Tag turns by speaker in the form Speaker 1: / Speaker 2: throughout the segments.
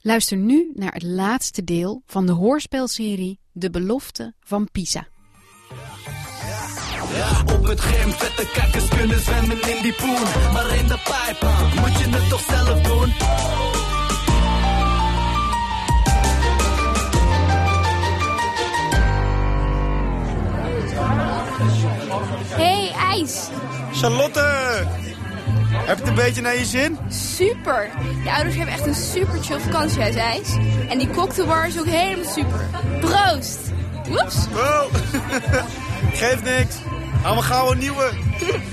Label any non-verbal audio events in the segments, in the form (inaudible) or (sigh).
Speaker 1: Luister nu naar het laatste deel van de hoorspelserie De Belofte van Pisa.
Speaker 2: Ja, op het gym vette kakkers kunnen zwemmen in die poen. Maar in de pijp moet je het toch zelf doen?
Speaker 3: Hé, hey, IJs.
Speaker 4: Charlotte! Heb je het een beetje naar je zin?
Speaker 3: Super. Je ouders hebben echt een super chill vakantiehuis, IJs. En die cocktailbar is ook helemaal super. Proost. (laughs) Oeps.
Speaker 4: Wow! Oh. (laughs) Geeft niks. Allemaal gauw een nieuwe.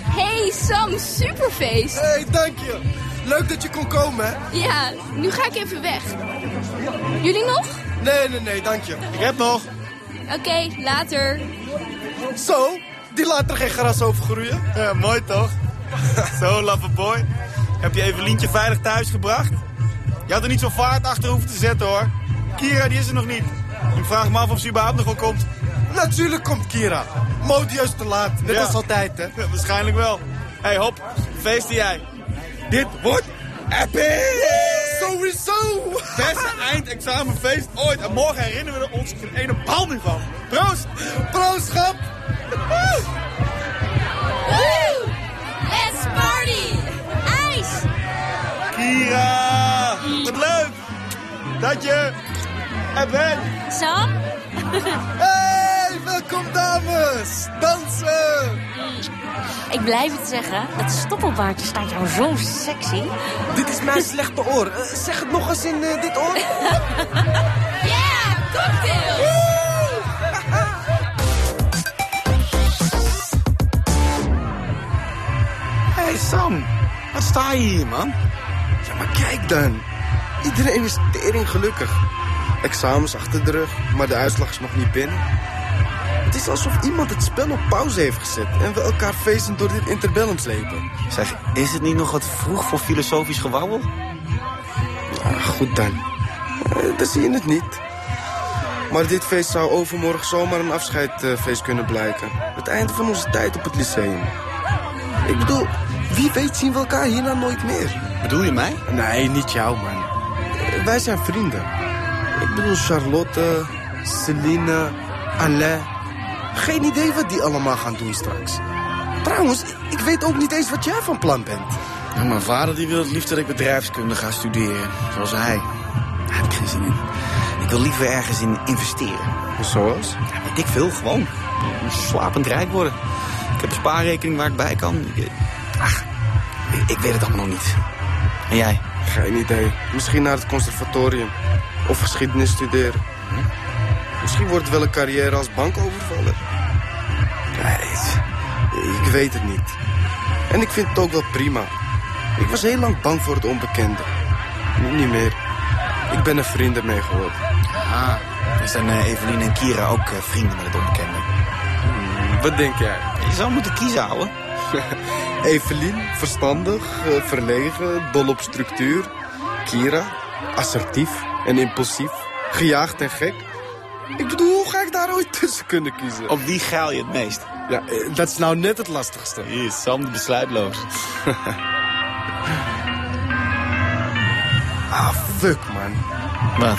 Speaker 3: Hé, hey, Sam. Superfeest.
Speaker 4: hey, dank je. Leuk dat je kon komen, hè?
Speaker 3: Ja, nu ga ik even weg. Jullie nog?
Speaker 4: Nee, nee, nee, dank je. Ik heb nog.
Speaker 3: Oké, later.
Speaker 4: Zo, die laat er geen gras over groeien. Ja, mooi (laughs) toch? zo, laffe boy. Heb je even Lientje veilig thuis gebracht? Je had er niet zo vaart achter hoeven te zetten, hoor. Kira, die is er nog niet. Ik vraag me af of ze überhaupt nog wel komt. Natuurlijk komt Kira. Modieus te laat, net
Speaker 5: als
Speaker 4: altijd, hè? waarschijnlijk wel. Hé, hey, hop, feesten jij. Dit wordt epic! Sowieso! (laughs) Beste eindexamenfeest ooit. En morgen herinneren we ons er geen ene paal meer van. Proost! Proost, grap!
Speaker 3: Woe! Let's party. IJs.
Speaker 4: Kira! Wat leuk! Dat je er bent!
Speaker 3: Sam?
Speaker 4: (laughs) Hey, welkom dames! Dansen!
Speaker 6: Ik blijf het zeggen, dat stoppelbaardje staat jou zo sexy.
Speaker 5: Dit is mijn slechte oor. Eh, zeg het nog eens in eh, dit oor.
Speaker 3: (laughs) Yeah, cocktails.
Speaker 4: (laughs) Hey Sam, wat sta je hier man?
Speaker 5: Ja, maar kijk dan. Iedereen is tering gelukkig. Examens achter de rug, maar de uitslag is nog niet binnen. Het is alsof iemand het spel op pauze heeft gezet en we elkaar feestend door dit interbellum slepen.
Speaker 4: Zeg, is het niet nog wat vroeg voor filosofisch gewauwel?
Speaker 5: Ah, goed dan. Eh, dan zie je het niet. Maar dit feest zou overmorgen zomaar een afscheidfeest kunnen blijken. Het einde van onze tijd op het lyceum. Ik bedoel, wie weet zien we elkaar hierna nooit meer.
Speaker 4: Bedoel je mij?
Speaker 5: Nee, niet jou, man. Eh, Wij zijn vrienden. Ik bedoel Charlotte, Celine, Alain. Geen idee wat die allemaal gaan doen straks. Trouwens, ik- ik weet ook niet eens wat jij van plan bent.
Speaker 4: Mijn vader die wil het liefst dat ik bedrijfskunde ga studeren, zoals hij. Daar heb ik geen zin in. Ik wil liever ergens in investeren.
Speaker 5: Zoals?
Speaker 4: Ja, weet ik veel, gewoon. Slapend rijk worden. Ik heb een spaarrekening waar ik bij kan. Ik- Ach, ik- ik weet het allemaal nog niet. En jij?
Speaker 5: Geen idee. Misschien naar het conservatorium. Of geschiedenis studeren. Misschien wordt het wel een carrière als bankovervaller. Nee, ik weet het niet. En ik vind het ook wel prima. Ik was heel lang bang voor het onbekende. Nu niet meer. Ik ben er vrienden mee geworden.
Speaker 4: Ah, dan zijn eh, Evelien en Kira ook eh, vrienden met het onbekende.
Speaker 5: Wat denk jij?
Speaker 4: Je zou moeten kiezen, ouwe.
Speaker 5: (laughs) Evelien, verstandig, eh, verlegen, dol op structuur. Kira, assertief en impulsief, gejaagd en gek. Ik bedoel, hoe ga ik daar ooit tussen kunnen kiezen?
Speaker 4: Op wie geil je het meest?
Speaker 5: Ja, eh, dat is nou net het lastigste.
Speaker 4: Hier is Sam de besluitloos.
Speaker 5: (laughs) Ah, fuck man.
Speaker 4: Wat?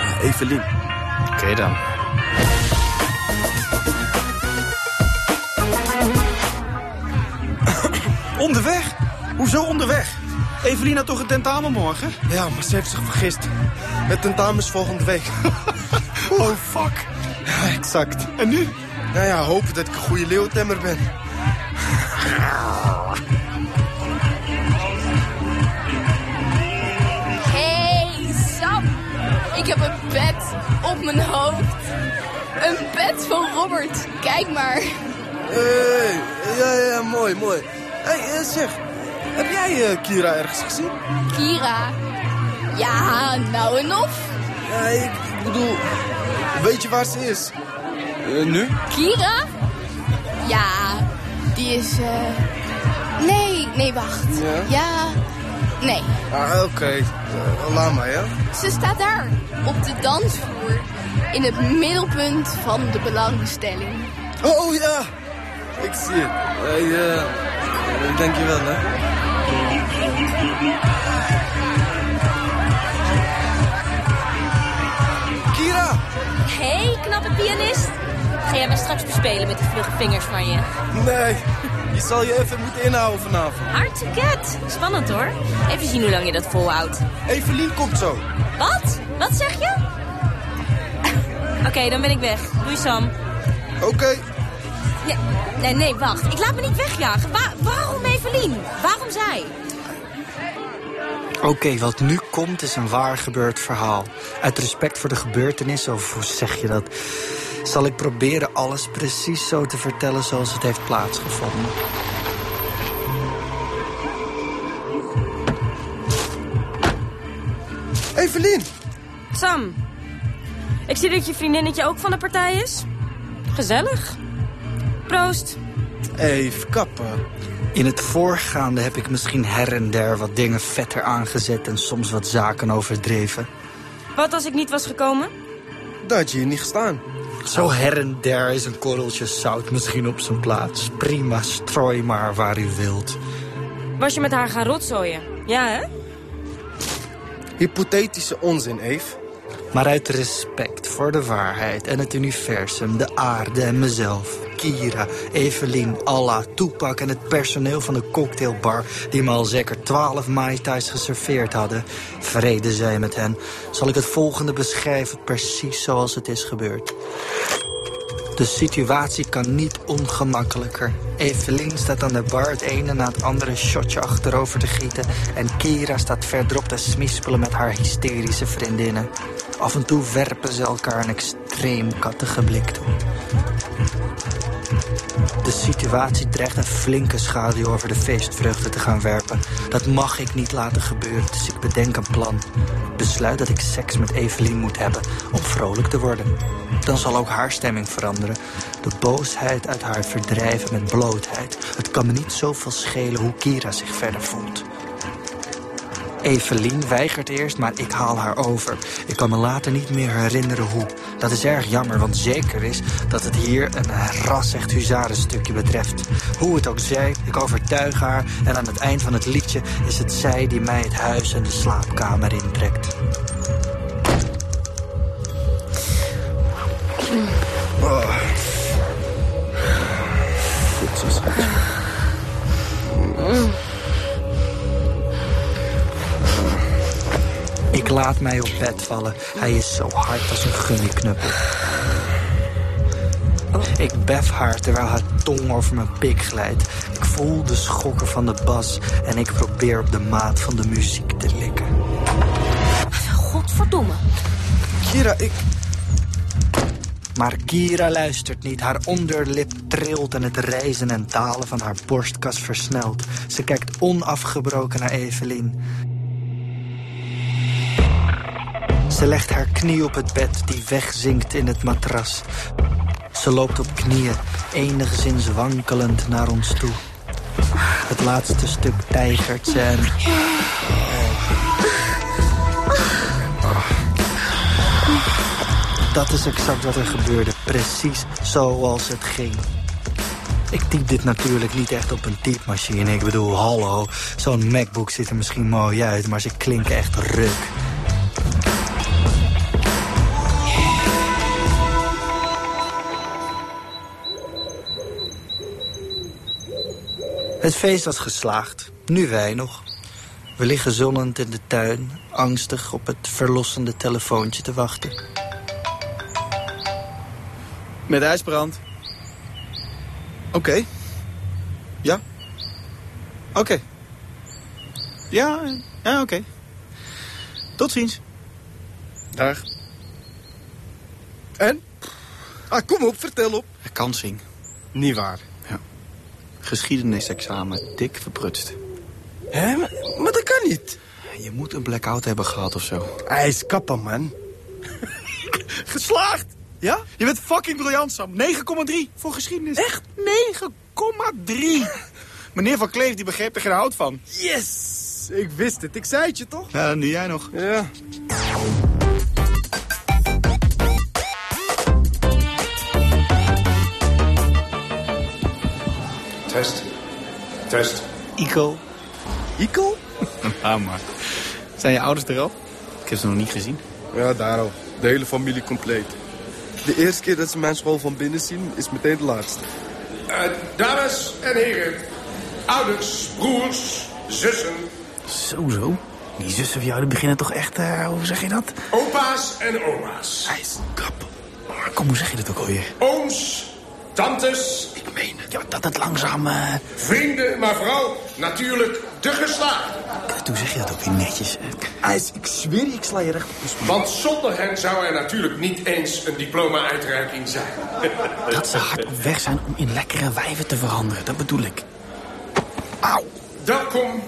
Speaker 5: Ah, Evelien.
Speaker 4: Oké dan. (coughs) onderweg? Hoezo onderweg? Evelien had toch een tentamen morgen?
Speaker 5: Ja, maar ze heeft zich vergist. Het tentamen is volgende (laughs) week.
Speaker 4: Oh fuck.
Speaker 5: Ja, exact.
Speaker 4: En nu?
Speaker 5: Nou ja, hopen dat ik een goede leeuwtemmer ben.
Speaker 3: Hey, Sam. Ik heb een pet op mijn hoofd. Een pet van Robert. Kijk maar.
Speaker 5: Hey, ja, ja, mooi, mooi. Hé, hey, eh, zeg, heb jij eh, Kira ergens gezien?
Speaker 3: Kira. Ja, nou en of.
Speaker 5: Ja, ik, ik bedoel, weet je waar ze is? Eh, nu?
Speaker 3: Kira? Ja, die is. eh, Nee, nee, wacht.
Speaker 5: Ja?
Speaker 3: Nee,
Speaker 5: Ah, oké. Eh, laat maar, ja.
Speaker 3: ze staat daar op de dansvloer. In het middelpunt van de belangstelling.
Speaker 5: Oh, oh, ja. Ik zie het. Hey, eh, dankjewel, hè.
Speaker 6: jij me straks bespelen met die vlugge vingers van je.
Speaker 5: (laughs)
Speaker 4: Nee, je zal je even moeten inhouden vanavond.
Speaker 6: Hartstikke Spannend hoor. Even zien hoe lang je dat volhoudt.
Speaker 4: Evelien komt zo.
Speaker 6: Wat? Wat zeg je? (laughs) Oké, dan ben ik weg. Doei Sam.
Speaker 4: Oké,
Speaker 6: Nee, nee, nee, wacht. Ik laat me niet wegjagen. Wa- waarom Evelien? Waarom zij?
Speaker 7: Oké, wat nu komt is een waar gebeurd verhaal. Uit respect voor de gebeurtenis, of hoe zeg je dat... zal ik proberen alles precies zo te vertellen zoals het heeft plaatsgevonden.
Speaker 5: Evelien!
Speaker 6: Sam, ik zie dat je vriendinnetje ook van de partij is. Gezellig. Proost.
Speaker 5: Even kappen.
Speaker 7: In het voorgaande heb ik misschien her en der wat dingen vetter aangezet... en soms wat zaken overdreven.
Speaker 6: Wat als ik niet was gekomen?
Speaker 5: Daar had je hier niet gestaan.
Speaker 7: Zo her en der is een korreltje zout misschien op zijn plaats. Prima, strooi maar waar u wilt.
Speaker 6: Was je met haar gaan rotzooien? Ja, hè?
Speaker 5: Hypothetische onzin, Eve.
Speaker 7: Maar uit respect voor de waarheid en het universum, de aarde en mezelf... Kira, Evelien, Allah, Toepak en het personeel van de cocktailbar... die me al zeker twaalf Mai Tais geserveerd hadden. Vrede zij met hen. Zal ik het volgende beschrijven precies zoals het is gebeurd. De situatie kan niet ongemakkelijker. Evelien staat aan de bar het ene na het andere shotje achterover te gieten. En Kira staat verderop te smispelen met haar hysterische vriendinnen. Af en toe werpen ze elkaar een extreem kattige blik toe. De situatie dreigt een flinke schaduw over de feestvreugde te gaan werpen. Dat mag ik niet laten gebeuren, dus ik bedenk een plan. Ik besluit dat ik seks met Evelien moet hebben om vrolijk te worden. Dan zal ook haar stemming veranderen. De boosheid uit haar verdrijven met blootheid. Het kan me niet zoveel schelen hoe Kira zich verder voelt. Evelien weigert eerst, maar ik haal haar over. Ik kan me later niet meer herinneren hoe. Dat is erg jammer, want zeker is dat het hier een rassig huzarenstukje betreft. Hoe het ook zij, ik overtuig haar... en aan het eind van het liedje is het zij die mij het huis en de slaapkamer intrekt.
Speaker 5: Goed zo, schat.
Speaker 7: Ik laat mij op bed vallen. Hij is zo hard als een gummiknuppel. Ik bef haar terwijl haar tong over mijn pik glijdt. Ik voel de schokken van de bas en ik probeer op de maat van de muziek te likken.
Speaker 6: Godverdomme.
Speaker 5: Kira, ik...
Speaker 7: Maar Kira luistert niet. Haar onderlip trilt en het rijzen en dalen van haar borstkas versnelt. Ze kijkt onafgebroken naar Evelien. Ze legt haar knie op het bed die wegzinkt in het matras. Ze loopt op knieën, enigszins wankelend naar ons toe. Het laatste stuk tijgert ze en... Dat is exact wat er gebeurde, precies zoals het ging. Ik typ dit natuurlijk niet echt op een typemachine. Ik bedoel, hallo, zo'n MacBook ziet er misschien mooi uit, maar ze klinken echt ruk. Het feest was geslaagd, nu wij nog. We liggen zonnend in de tuin, angstig op het verlossende telefoontje te wachten.
Speaker 4: Met ijsbrand. Oké. Ja. Oké. Ja, ja oké. Tot ziens.
Speaker 5: Dag. En? Ah, kom op, vertel op.
Speaker 4: Herkansing.
Speaker 5: Niet waar.
Speaker 4: Geschiedenisexamen. Dik verprutst.
Speaker 5: Hè? Maar, maar dat kan niet.
Speaker 4: Je moet een blackout hebben gehad of zo.
Speaker 5: IJskappen, man.
Speaker 4: Geslaagd!
Speaker 5: Ja?
Speaker 4: Je bent fucking briljant, Sam. 9,3 voor geschiedenis. Echt? 9,3! Meneer Van Kleef die begreep er geen hout van.
Speaker 5: Yes! Ik wist het. Ik zei het je toch?
Speaker 4: Nou, dan doe jij nog.
Speaker 5: Ja.
Speaker 8: Test. Test.
Speaker 4: Ico.
Speaker 9: (laughs)
Speaker 4: Ico? ah, maar. Zijn je ouders er al? Ik heb ze nog niet gezien.
Speaker 5: Ja, daarom. De hele familie compleet. De eerste keer dat ze mijn school van binnen zien, is meteen de laatste.
Speaker 8: Eh, dames en heren, ouders, broers, zussen,
Speaker 9: Zo, zo. Die zussen van jou die beginnen toch echt, eh, hoe zeg je dat?
Speaker 8: opa's en oma's,
Speaker 9: Hij is kap. Maar kom, Ah, hoe zeg je dat ook alweer?
Speaker 8: ooms, tantes,
Speaker 9: Ik meen het. Ja, dat het langzaam... eh,
Speaker 8: vrienden, maar vooral natuurlijk de geslaagden.
Speaker 9: hoe zeg je dat ook weer netjes? IJs, ik zweer je, ik sla je recht op de spoor.
Speaker 8: Want zonder hen zou er natuurlijk niet eens een diploma-uitreiking zijn.
Speaker 9: Dat ze hard op weg zijn om in lekkere wijven te veranderen, dat bedoel ik. Auw.
Speaker 8: Welkom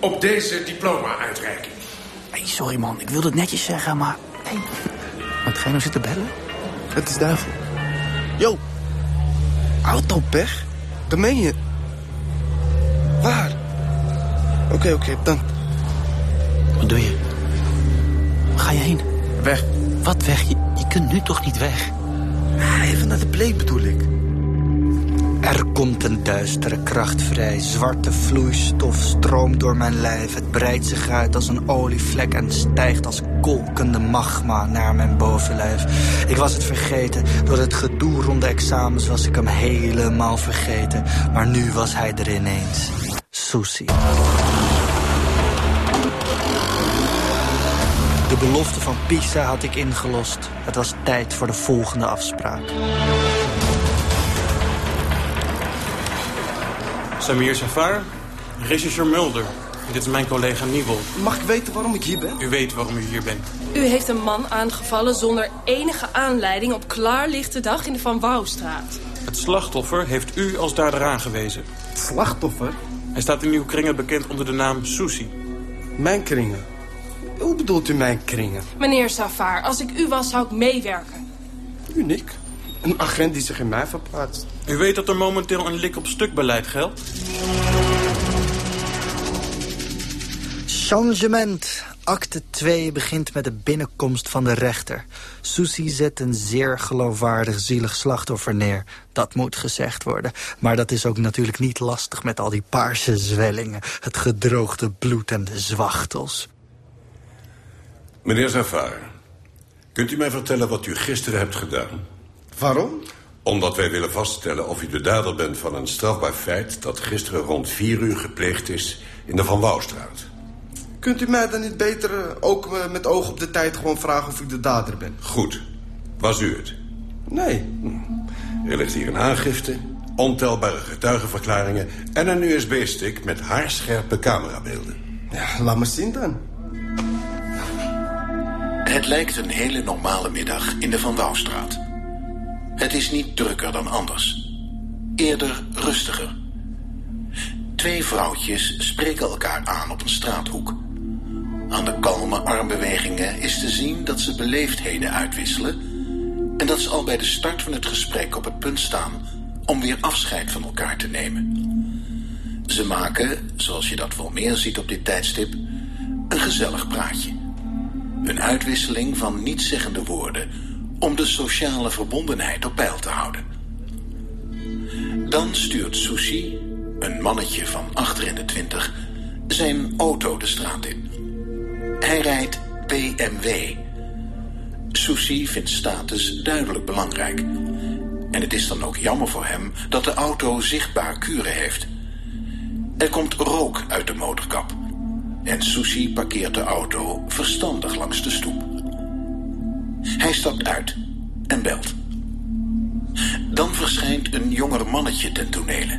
Speaker 8: op deze diploma-uitreiking.
Speaker 9: Hey, sorry man, ik wilde het netjes zeggen, maar... Hey. Wat ga je nou zitten bellen?
Speaker 5: Het is duivel. Yo! Autopech? Dat meen je? Waar? Oké, oké, dan.
Speaker 9: nou- Wat doe je? Waar ga je heen?
Speaker 5: Weg.
Speaker 9: Wat weg? Je, je kunt nu toch niet weg?
Speaker 5: Even naar de play bedoel ik.
Speaker 7: Er komt een duistere kracht vrij. Zwarte vloeistof stroomt door mijn lijf. Het breidt zich uit als een olievlek en stijgt als kolkende magma naar mijn bovenlijf. Ik was het vergeten. Door het gedoe rond de examens was ik hem helemaal vergeten. Maar nu was hij er ineens. Susie. De belofte van Pisa had ik ingelost. Het was tijd voor de volgende afspraak.
Speaker 10: Samir Safar, regisseur Mulder. Dit is mijn collega Niebel.
Speaker 5: Mag ik weten waarom ik hier ben?
Speaker 10: U weet waarom u hier bent.
Speaker 6: U heeft een man aangevallen zonder enige aanleiding op klaarlichte dag in de Van Wouwstraat.
Speaker 10: Het slachtoffer heeft u als dader aangewezen.
Speaker 5: Slachtoffer?
Speaker 10: Hij staat in uw kringen bekend onder de naam Susi.
Speaker 5: Mijn kringen. Hoe bedoelt u mijn kringen?
Speaker 6: Meneer Savaar, als ik u was, zou ik meewerken.
Speaker 5: Uniek. Een agent die zich in mij verplaatst.
Speaker 10: U weet dat er momenteel een lik op stuk beleid geldt.
Speaker 7: Changement. Acte 2 begint met de binnenkomst van de rechter. Susie zet een zeer geloofwaardig zielig slachtoffer neer. Dat moet gezegd worden. Maar dat is ook natuurlijk niet lastig met al die paarse zwellingen... het gedroogde bloed en de zwachtels.
Speaker 11: Meneer Zafar, kunt u mij vertellen wat u gisteren hebt gedaan?
Speaker 5: Waarom?
Speaker 11: Omdat wij willen vaststellen of u de dader bent van een strafbaar feit... dat gisteren rond 4 uur gepleegd is in de Van Wouwstraat.
Speaker 5: Kunt u mij dan niet beter, eh, ook eh, met oog op de tijd, gewoon vragen of ik de dader ben?
Speaker 11: Goed, was u het? Hm.
Speaker 5: Nee.
Speaker 11: Er ligt hier een aangifte, ontelbare getuigenverklaringen... en een USB-stick met haarscherpe camerabeelden.
Speaker 5: Ja, laat maar zien dan.
Speaker 12: Het lijkt een hele normale middag in de Van Wouwstraat. Het is niet drukker dan anders. Eerder rustiger. Twee vrouwtjes spreken elkaar aan op een straathoek. Aan de kalme armbewegingen is te zien dat ze beleefdheden uitwisselen... en dat ze al bij de start van het gesprek op het punt staan... om weer afscheid van elkaar te nemen. Ze maken, zoals je dat wel meer ziet op dit tijdstip... een gezellig praatje. Een uitwisseling van nietszeggende woorden om de sociale verbondenheid op peil te houden. Dan stuurt Sushi, een mannetje van achter in de twintig, zijn auto de straat in. Hij rijdt BMW. Sushi vindt status duidelijk belangrijk. En het is dan ook jammer voor hem dat de auto zichtbaar kuren heeft. Er komt rook uit de motorkap. En Sushi parkeert de auto verstandig langs de stoep. Hij stapt uit en belt. Dan verschijnt een jonger mannetje ten tonele.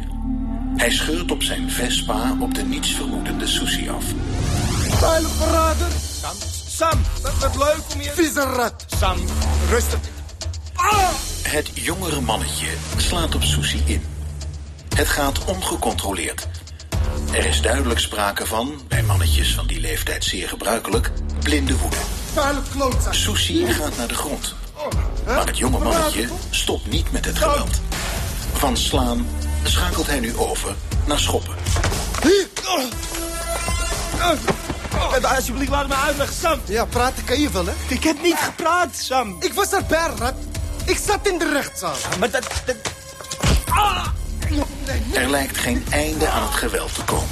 Speaker 12: Hij scheurt op zijn Vespa op de nietsvermoedende Sushi af.
Speaker 5: Vuilverrader,
Speaker 4: Sam, Sam, wat, wat leuk om je...
Speaker 5: vieze rat.
Speaker 4: Sam, rustig. Ah!
Speaker 12: Het jongere mannetje slaat op Sushi in. Het gaat ongecontroleerd. Er is duidelijk sprake van, bij mannetjes van die leeftijd zeer gebruikelijk, blinde woede.
Speaker 5: Vuile klootzak.
Speaker 12: Sushi gaat naar de grond. Maar het jonge mannetje stopt niet met het geweld. Van slaan schakelt hij nu over naar schoppen.
Speaker 5: Hier.
Speaker 4: Alsjeblieft, laat me uitleggen, Sam.
Speaker 5: Ja, praten kan je wel, hè?
Speaker 4: Ik heb niet gepraat, Sam.
Speaker 5: Ik was erbij, rat. Ik zat in de rechtszaal.
Speaker 4: Maar dat... dat...
Speaker 12: Er lijkt geen einde aan het geweld te komen.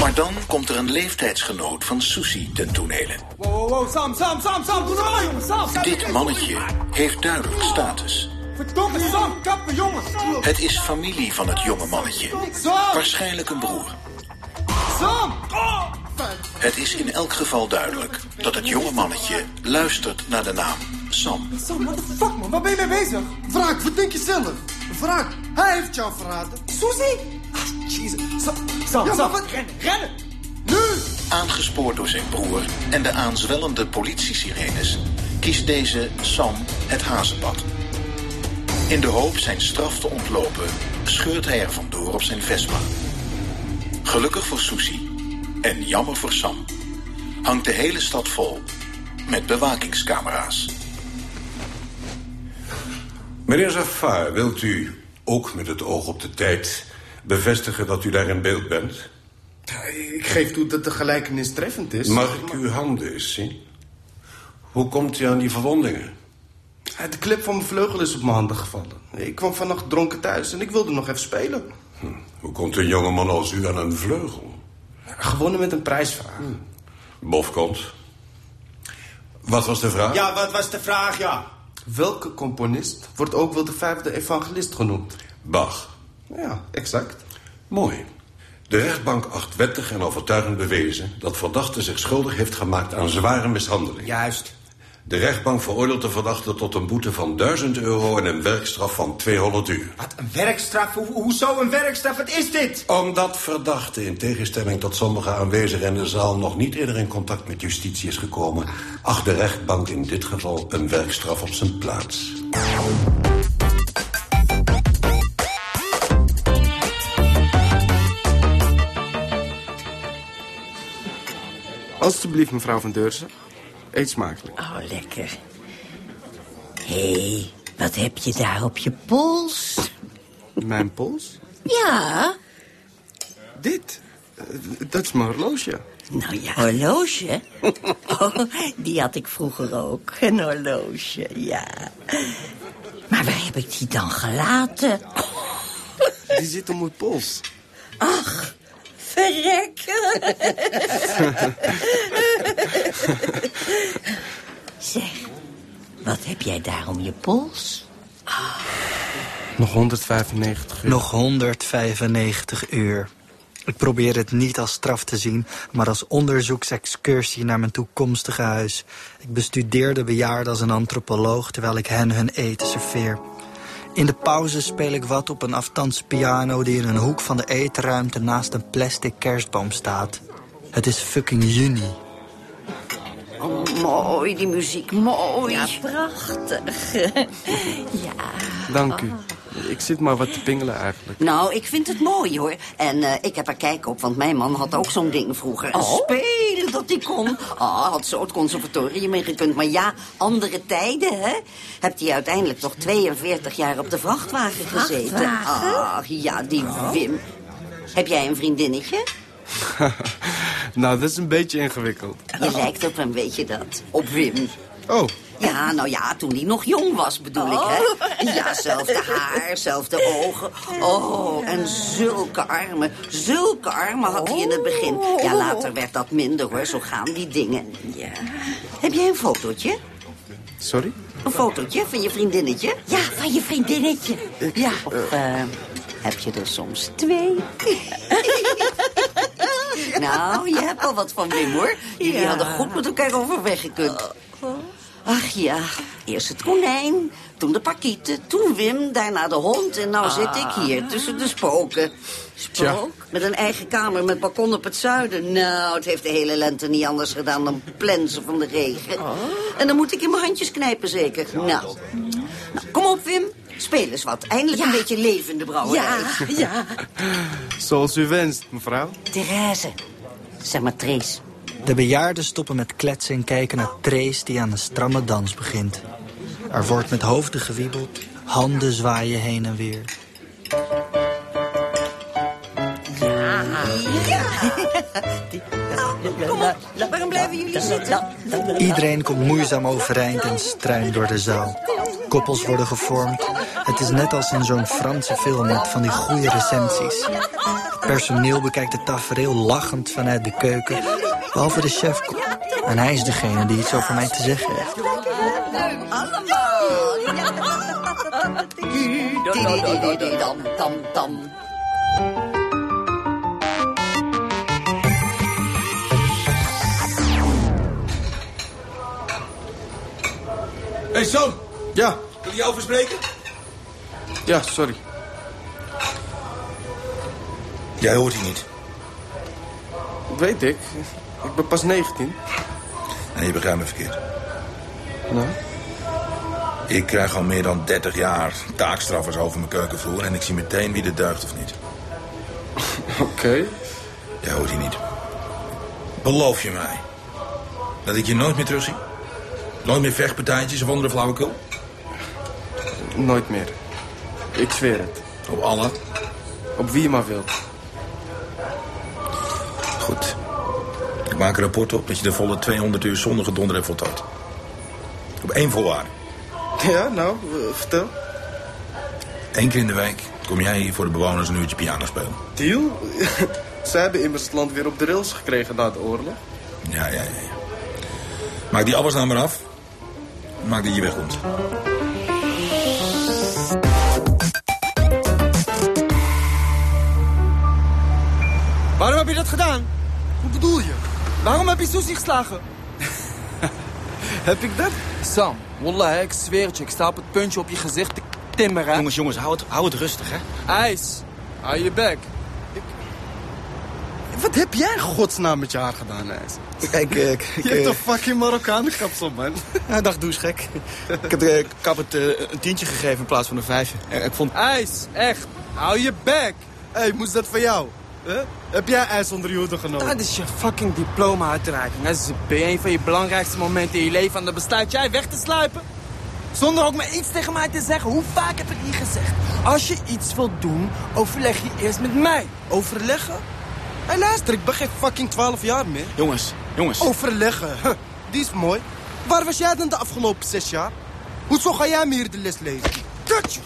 Speaker 12: Maar dan komt er een leeftijdsgenoot van Susie ten tonele.
Speaker 2: Wow, wow, wow, Sam, Sam, Sam, Sam, doe nou, jongen, Sam, Sam.
Speaker 12: Dit mannetje heeft duidelijk status.
Speaker 2: Verdomme, Sam, kappen, jongen.
Speaker 12: Het is familie van het jonge mannetje.
Speaker 2: Sam,
Speaker 12: Waarschijnlijk een broer.
Speaker 2: Sam. Oh.
Speaker 12: Het is in elk geval duidelijk dat het jonge mannetje luistert naar de naam Sam.
Speaker 2: Sam, what the fuck, man, waar ben je mee bezig? Wraak, verdenk jezelf. Wraak, hij heeft jou verraden. Susie? Ah, Jezus. Sam, Sam, ja, Sam. Rennen, rennen. Nu.
Speaker 12: Aangespoord door zijn broer en de aanzwellende politiesirenes... kiest deze Sam het hazenpad. In de hoop zijn straf te ontlopen... scheurt hij er vandoor op zijn Vespa. Gelukkig voor Susie en jammer voor Sam... hangt de hele stad vol met bewakingscamera's.
Speaker 11: Meneer Zafar, wilt u, ook met het oog op de tijd... bevestigen dat u daar in beeld bent?
Speaker 5: Ik geef toe dat de gelijkenis treffend is.
Speaker 11: Mag ik uw handen eens zien? Hoe komt u aan die verwondingen?
Speaker 5: De clip van mijn vleugel is op mijn handen gevallen. Ik kwam vannacht dronken thuis en ik wilde nog even spelen.
Speaker 11: Hm, Hoe komt een jongeman als u aan een vleugel? Hmm.
Speaker 5: Gewonnen met een prijsvraag.
Speaker 11: Bof komt. Wat was de vraag?
Speaker 5: Ja, wat was de vraag, ja? Welke componist wordt ook wel de vijfde evangelist genoemd?
Speaker 11: Bach.
Speaker 5: Ja, exact.
Speaker 11: Mooi. De rechtbank acht wettig en overtuigend bewezen... dat verdachte zich schuldig heeft gemaakt aan zware mishandeling.
Speaker 9: Juist.
Speaker 11: De rechtbank veroordeelt de verdachte tot een boete van 1000 euro... en een werkstraf van 200 uur.
Speaker 9: Wat een werkstraf? Ho- hoezo een werkstraf? Wat is dit?
Speaker 11: Omdat verdachte, in tegenstelling tot sommige aanwezigen in de zaal... nog niet eerder in contact met justitie is gekomen... acht de rechtbank in dit geval een werkstraf op zijn plaats.
Speaker 5: Alsjeblieft, mevrouw van Deurzen. Eet smakelijk.
Speaker 13: Oh, lekker. Hé, hey, wat heb je daar op je pols?
Speaker 5: Mijn pols?
Speaker 13: Ja,
Speaker 5: Dit? Eh, Dat is mijn horloge.
Speaker 13: nou ja. Horloge? (laughs) Oh, die had ik vroeger ook. Een horloge, ja. Maar waar heb ik die dan gelaten?
Speaker 5: Die zit om mijn pols.
Speaker 13: (laughs) Verrekken. zeg, wat heb jij daar om je pols?
Speaker 5: Nog 195 uur.
Speaker 7: Nog 195 uur. Ik probeer het niet als straf te zien, maar als onderzoeksexcursie naar mijn toekomstige huis. Ik bestudeer de bejaarden als een antropoloog terwijl ik hen hun eten serveer. In de pauze speel ik wat op een aftans piano die in een hoek van de eetruimte naast een plastic kerstboom staat. Het is fucking juni.
Speaker 13: Oh, mooi, die muziek, mooi. Ja, prachtig. (laughs) ja.
Speaker 5: Dank u. Ik zit maar wat te pingelen eigenlijk.
Speaker 13: Nou, ik vind het mooi hoor. En eh, ik heb er kijk op, want mijn man had ook zo'n ding vroeger. Spelen dat hij kon. Ah, had zo het conservatorium in gekund. Maar ja, andere tijden, hè? Hebt hij uiteindelijk toch 42 jaar op de vrachtwagen gezeten? Ach ja, die Wim. Heb jij een vriendinnetje?
Speaker 5: nou, dat is een beetje ingewikkeld.
Speaker 13: Je lijkt op hem, weet je dat? Op Wim.
Speaker 5: Oh,
Speaker 13: Ja, nou ja, toen hij nog jong was, bedoel ik, hè? Ja, zelfde haar, zelfde ogen. Oh, en zulke armen, zulke armen had hij in het begin. Ja, later werd dat minder, hoor, zo gaan die dingen. Ja. Heb jij een fotootje?
Speaker 5: sorry?
Speaker 13: Een fotootje van je vriendinnetje? Ja, van je vriendinnetje. Ja. Of eh, heb je er soms twee? Nou, je hebt al wat van Wim, hoor. Jullie
Speaker 14: Ja.
Speaker 13: hadden goed met elkaar overweg gekund. Ach ja, eerst het konijn, toen de pakieten, toen Wim, daarna de hond... en nou zit ik hier tussen de spoken. Spook? Met een eigen kamer met balkon op het zuiden. Nou, het heeft de hele lente niet anders gedaan dan plensen van de regen. En dan moet ik in mijn handjes knijpen zeker. Nou, nou kom op Wim, speel eens wat. Eindelijk een beetje levende brouwerij.
Speaker 14: ja.
Speaker 5: Zoals u wenst, mevrouw.
Speaker 13: Therese, zeg maar Trace.
Speaker 7: De bejaarden stoppen met kletsen en kijken naar Trace die aan een stramme dans begint. Er wordt met hoofden gewiebeld, handen zwaaien heen en weer.
Speaker 13: Nou, Kom op, waarom blijven jullie zitten?
Speaker 7: Iedereen komt moeizaam overeind en struint door de zaal. koppels worden gevormd. Het is net als in zo'n Franse film met van die goede recensies. Het personeel bekijkt het tafereel lachend vanuit de keuken. Behalve de chefkok. En hij is degene die iets over mij te zeggen heeft.
Speaker 13: Dam, dam, dam.
Speaker 8: Hé, hey, Sam.
Speaker 5: Ja,
Speaker 8: Wil je jou verspreken?
Speaker 5: ja, sorry.
Speaker 8: Jij hoort hier niet.
Speaker 5: Dat weet ik. Ik ben pas 19.
Speaker 8: En je begrijpt me verkeerd.
Speaker 5: Nou?
Speaker 8: Ik krijg al meer dan 30 jaar taakstraffers over mijn keukenvloer... en ik zie meteen wie er duigt of (laughs) niet.
Speaker 5: Oké.
Speaker 8: Jij hoort hier niet. Beloof je mij dat ik je nooit meer terugzie? Nooit meer vechtpartijtjes of andere flauwekul?
Speaker 5: Nooit meer. Ik zweer het.
Speaker 8: Op alle?
Speaker 5: Op wie je maar wilt.
Speaker 8: Goed. Ik maak een rapport op dat je de volle 200 uur zonder gedonder hebt voltooid. Op één voorwaarde.
Speaker 5: Ja, nou, eh, vertel.
Speaker 8: Eén keer in de week kom jij hier voor de bewoners een uurtje piano spelen.
Speaker 5: Deal? (laughs) Zij hebben immers het land weer op de rails gekregen na de oorlog.
Speaker 8: Ja, ja, ja. ja. Maak die appels nou maar af. Maak dat je wegkomt.
Speaker 2: Waarom heb je dat gedaan? Hoe bedoel je? Waarom heb je Susie
Speaker 5: (laughs)
Speaker 2: geslagen? heb ik dat? Sam, wallah, ik zweer het je. Ik sta op het puntje op je gezicht te timmeren. Jongens, jongens, hou het, hou het rustig, hè? IJs, hou je bek.
Speaker 14: Wat heb jij in godsnaam met je haar gedaan, IJs?
Speaker 7: Kijk, eh, kijk,
Speaker 14: (laughs) Je hebt
Speaker 7: eh,
Speaker 14: een fucking Marokkanen kapsel, man.
Speaker 9: (laughs) Ja, dag, doe eens
Speaker 14: (laughs)
Speaker 9: gek. Ik heb de kap het eh, een tientje gegeven in plaats van een vijfje. Eh, Ik vond...
Speaker 14: IJs, echt, hou je bek. Hé, hey, moest dat van jou? Huh? Heb jij ijs onder je hoede genomen?
Speaker 2: Dat is je fucking diploma-uitreiking. Dat is een van je belangrijkste momenten in je leven. En dan bestaat jij weg te sluipen. Zonder ook maar iets tegen mij te zeggen. Hoe vaak heb ik hier gezegd? Als je iets wilt doen, overleg je eerst met mij.
Speaker 14: Overleggen? Hé, luister, ik ben geen fucking 12 jaar meer.
Speaker 9: Jongens, jongens.
Speaker 14: Overleggen, huh, die is mooi. Waar was jij dan de afgelopen zes jaar? Hoezo ga jij me hier de les lezen? Kutje!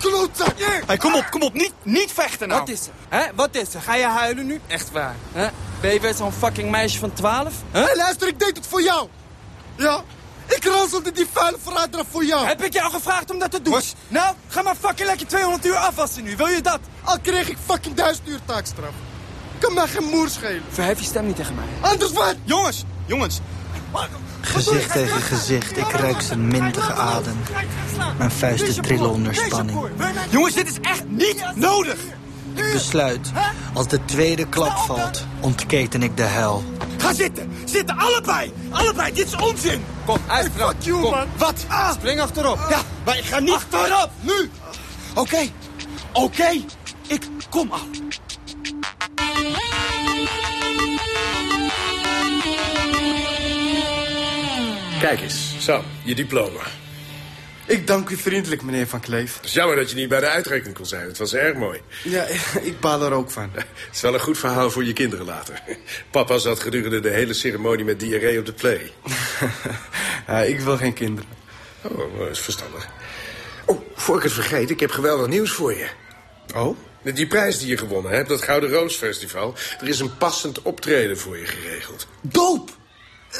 Speaker 14: Klootzak!
Speaker 9: Hey, kom op, kom op. Niet, niet vechten nou.
Speaker 2: eh, Wat is er? Hè? Wat is er? Ga je huilen nu? Echt waar. Hè? Ben je weer zo'n fucking meisje van 12? Hè?
Speaker 14: Hé, luister, ik deed het voor jou. Ja? Ik ranselde die vuile verrader voor jou.
Speaker 2: Heb ik jou gevraagd om dat te doen? Nou, ga maar fucking lekker 200 uur afwassen nu. Wil je dat?
Speaker 14: Al kreeg ik fucking duizend uur taakstraf. Kan mij geen moer schelen.
Speaker 2: Verhef je stem niet tegen mij.
Speaker 14: Anders wat?
Speaker 9: Jongens, jongens.
Speaker 7: Gezicht tegen gezicht, ik ruik zijn mintige adem. Mijn vuisten trillen onder spanning.
Speaker 9: Jongens, dit is echt niet nodig.
Speaker 7: Ik besluit, als de tweede klap valt, ontketen ik de hel.
Speaker 9: Ga zitten. Zitten, allebei. Allebei, dit is onzin.
Speaker 2: Kom, uitvrouw. Kom.
Speaker 9: Wat?
Speaker 2: Spring achterop.
Speaker 9: Ah. Ja, maar ik ga niet...
Speaker 2: Achterop,
Speaker 9: nu. Oké, oké. Ik kom af.
Speaker 8: Kijk eens, Sam, je diploma.
Speaker 5: Ik dank u vriendelijk, meneer Van Kleef.
Speaker 8: Het is jammer dat je niet bij de uitreiking kon zijn. Het was erg mooi.
Speaker 5: Ja,
Speaker 14: eh,
Speaker 5: ik baal er ook van.
Speaker 8: Het is wel een goed verhaal voor je kinderen later. Papa zat gedurende de hele ceremonie met diarree op de play.
Speaker 5: (laughs) Ja, ik wil geen kinderen.
Speaker 8: Oh, dat is verstandig. Oh, voor ik het vergeet, ik heb geweldig nieuws voor je.
Speaker 5: Oh?
Speaker 8: Met die prijs die je gewonnen hebt, dat Gouden Roos Festival... er is een passend optreden voor je geregeld.
Speaker 14: Doop! Eh,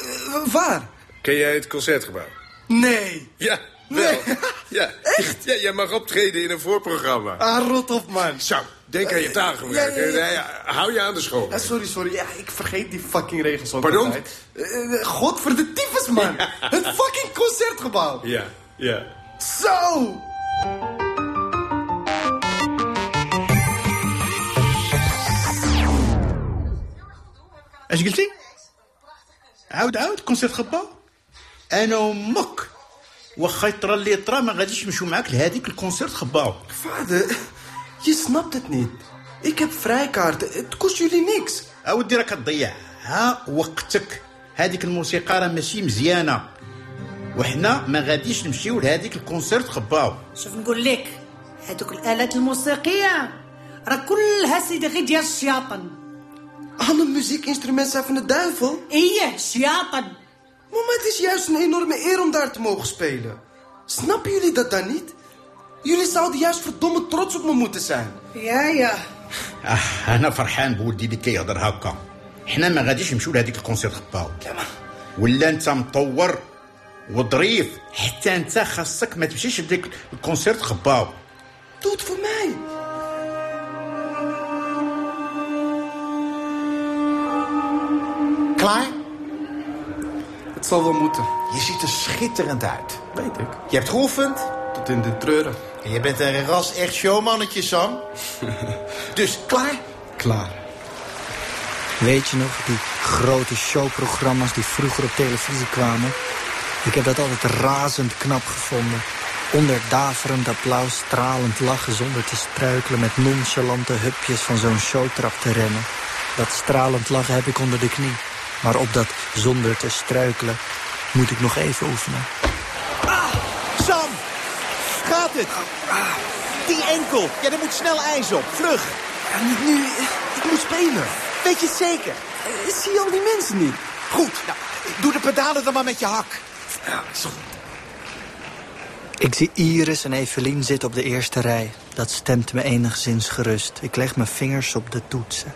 Speaker 14: waar?
Speaker 8: Ken jij het Concertgebouw?
Speaker 14: Nee.
Speaker 8: Ja, wel. Ja. Echt? Ja, jij mag optreden in een voorprogramma.
Speaker 14: Ah, rot op, man.
Speaker 8: Zo, denk aan je tafelwerk.
Speaker 5: Ja, ja, ja.
Speaker 8: Eh, ja, Hou je aan de school.
Speaker 5: Ah, sorry, sorry. Ja, ik vergeet die fucking regels ook
Speaker 8: Pardon?
Speaker 5: altijd. Eh, eh, God voor de tyfus, man. Het fucking concertgebouw.
Speaker 8: Ja, ja.
Speaker 5: Zo!
Speaker 9: Als je het zien? عاود عاود كونسيرت خطبه انا وامك واخا يطرى اللي يطرى ما غاديش نمشيو معاك لهذيك الكونسيرت خباو
Speaker 5: Vader, je snapt het niet. Ik heb vrijkaarten. Het kost jullie niks.
Speaker 9: اودي راك تضيعها وقتك هذيك الموسيقى راه ماشي مزيانه وحنا ما غاديش نمشيو لهذيك الكونسيرت خباو
Speaker 15: شوف نقول لك هذوك الالات الموسيقيه راه كلها سيدي غير ديال الشياطن
Speaker 5: Alle muziekinstrumenten zijn van de duivel.
Speaker 15: ايه شياطن
Speaker 5: Mama, het is juist een enorme eer om daar te mogen spelen. Snappen jullie dat dan niet? Jullie zouden juist verdomme trots op me moeten zijn.
Speaker 11: Ja, ja.
Speaker 9: آه انا فرحان بولدي اللي كيهضر هكا حنا ما غاديش نمشيو لهذيك الكونسيرت باو ولا انت مطور وظريف حتى انت خاصك ما تمشيش لديك الكونسيرت خباو
Speaker 5: Doe het voor mij.
Speaker 8: Klaar?
Speaker 5: Het zal wel moeten.
Speaker 8: Je ziet er schitterend uit. Weet ik. Je hebt geoefend.
Speaker 5: Tot in de treuren.
Speaker 8: En je bent een ras echt showmannetje,
Speaker 5: (laughs)
Speaker 8: Sam. dus klaar?
Speaker 5: Klaar.
Speaker 7: Weet je nog, die grote showprogramma's die vroeger op televisie kwamen? Ik heb dat altijd razend knap gevonden. Onder daverend applaus, stralend lachen zonder te struikelen... met nonchalante hupjes van zo'n showtrap te rennen. Dat stralend lachen heb ik onder de knie. Maar op dat zonder te struikelen moet ik nog even oefenen.
Speaker 8: Sam, gaat het? Die enkel. Ja, er moet snel ijs op. Vlug.
Speaker 5: niet nu. Ik moet spelen. Eh,
Speaker 8: Weet je het zeker?
Speaker 5: Zie je al die mensen niet?
Speaker 8: Goed. Nou, doe de pedalen dan maar met je hak.
Speaker 7: Ik zie Iris en Evelien zitten op de eerste rij. Dat stemt me enigszins gerust. Ik leg mijn vingers op de toetsen.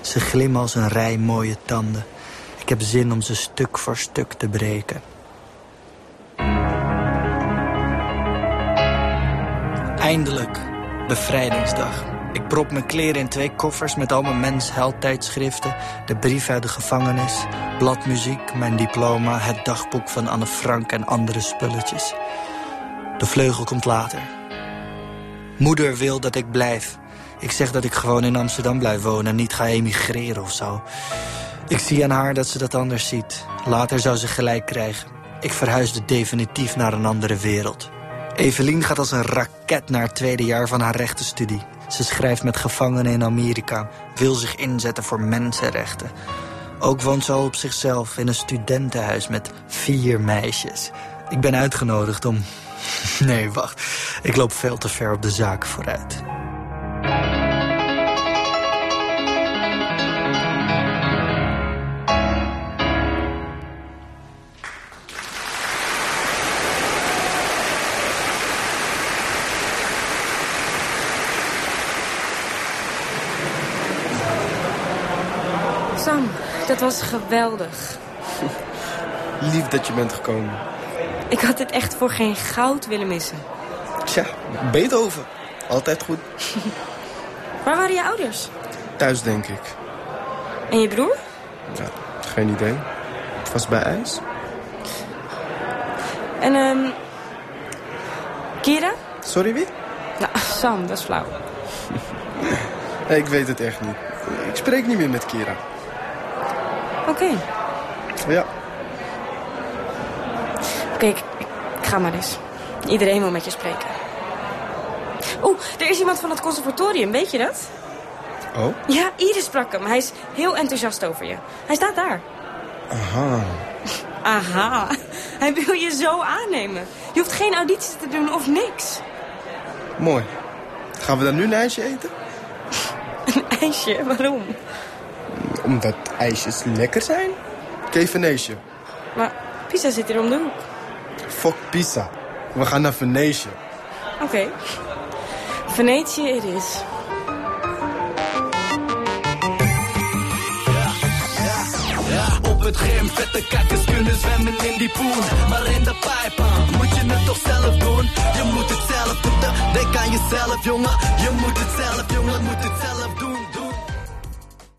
Speaker 7: Ze glimmen als een rij mooie tanden. Ik heb zin om ze stuk voor stuk te breken. Eindelijk, bevrijdingsdag. Ik prop mijn kleren in twee koffers met al mijn mens tijdschriften, de brief uit de gevangenis, bladmuziek, mijn diploma, het dagboek van Anne Frank en andere spulletjes. De vleugel komt later. Moeder wil dat ik blijf. Ik zeg dat ik gewoon in Amsterdam blijf wonen en niet ga emigreren of zo. Ik zie aan haar dat ze dat anders ziet. Later zou ze gelijk krijgen. Ik verhuisde definitief naar een andere wereld. Evelien gaat als een raket naar het tweede jaar van haar rechtenstudie. Ze schrijft met gevangenen in Amerika, wil zich inzetten voor mensenrechten. Ook woont ze al op zichzelf in een studentenhuis met vier meisjes. Ik ben uitgenodigd om. (laughs) Nee, wacht. Ik loop veel te ver op de zaak vooruit.
Speaker 6: Sam, dat was geweldig.
Speaker 5: Lief dat je bent gekomen.
Speaker 6: Ik had dit echt voor geen goud willen missen. (laughs)
Speaker 5: Tja, Beethoven. Altijd goed.
Speaker 6: Waar waren je ouders?
Speaker 5: Thuis denk ik.
Speaker 6: En je broer?
Speaker 5: Ja, geen idee. Het was bij ijs.
Speaker 6: En, ehm... Kira?
Speaker 5: Sorry wie?
Speaker 6: Nou, Sam, dat is flauw.
Speaker 5: Nee, (laughs) ik weet het echt niet. Ik spreek niet meer met Kira.
Speaker 6: Oké.
Speaker 5: Ja.
Speaker 6: Oké, ik, ik ga maar eens. Iedereen wil met je spreken. Oeh, er is iemand van het conservatorium, weet je dat?
Speaker 5: Oh?
Speaker 6: Ja, Iris sprak hem. Hij is heel enthousiast over je. Hij staat daar.
Speaker 5: Aha.
Speaker 6: Aha, (laughs) hij wil je zo aannemen. Je hoeft geen auditie te doen of niks. (laughs)
Speaker 5: Mooi. Gaan we dan nu een ijsje eten?
Speaker 6: Een ijsje, waarom?
Speaker 5: Omdat ijsjes lekker zijn? Keveneesje.
Speaker 6: Maar Pisa zit hier om de hoek.
Speaker 5: Fuck pizza. We gaan naar Venetië.
Speaker 6: Oké. Venetië, it is.
Speaker 2: Op het gym, vette kakkers kunnen zwemmen in die poen. Maar in de pijpaan moet je het toch zelf doen? Je moet het zelf doen, denk aan jezelf, jongen. Je moet het zelf, jongen, moet het zelf doen.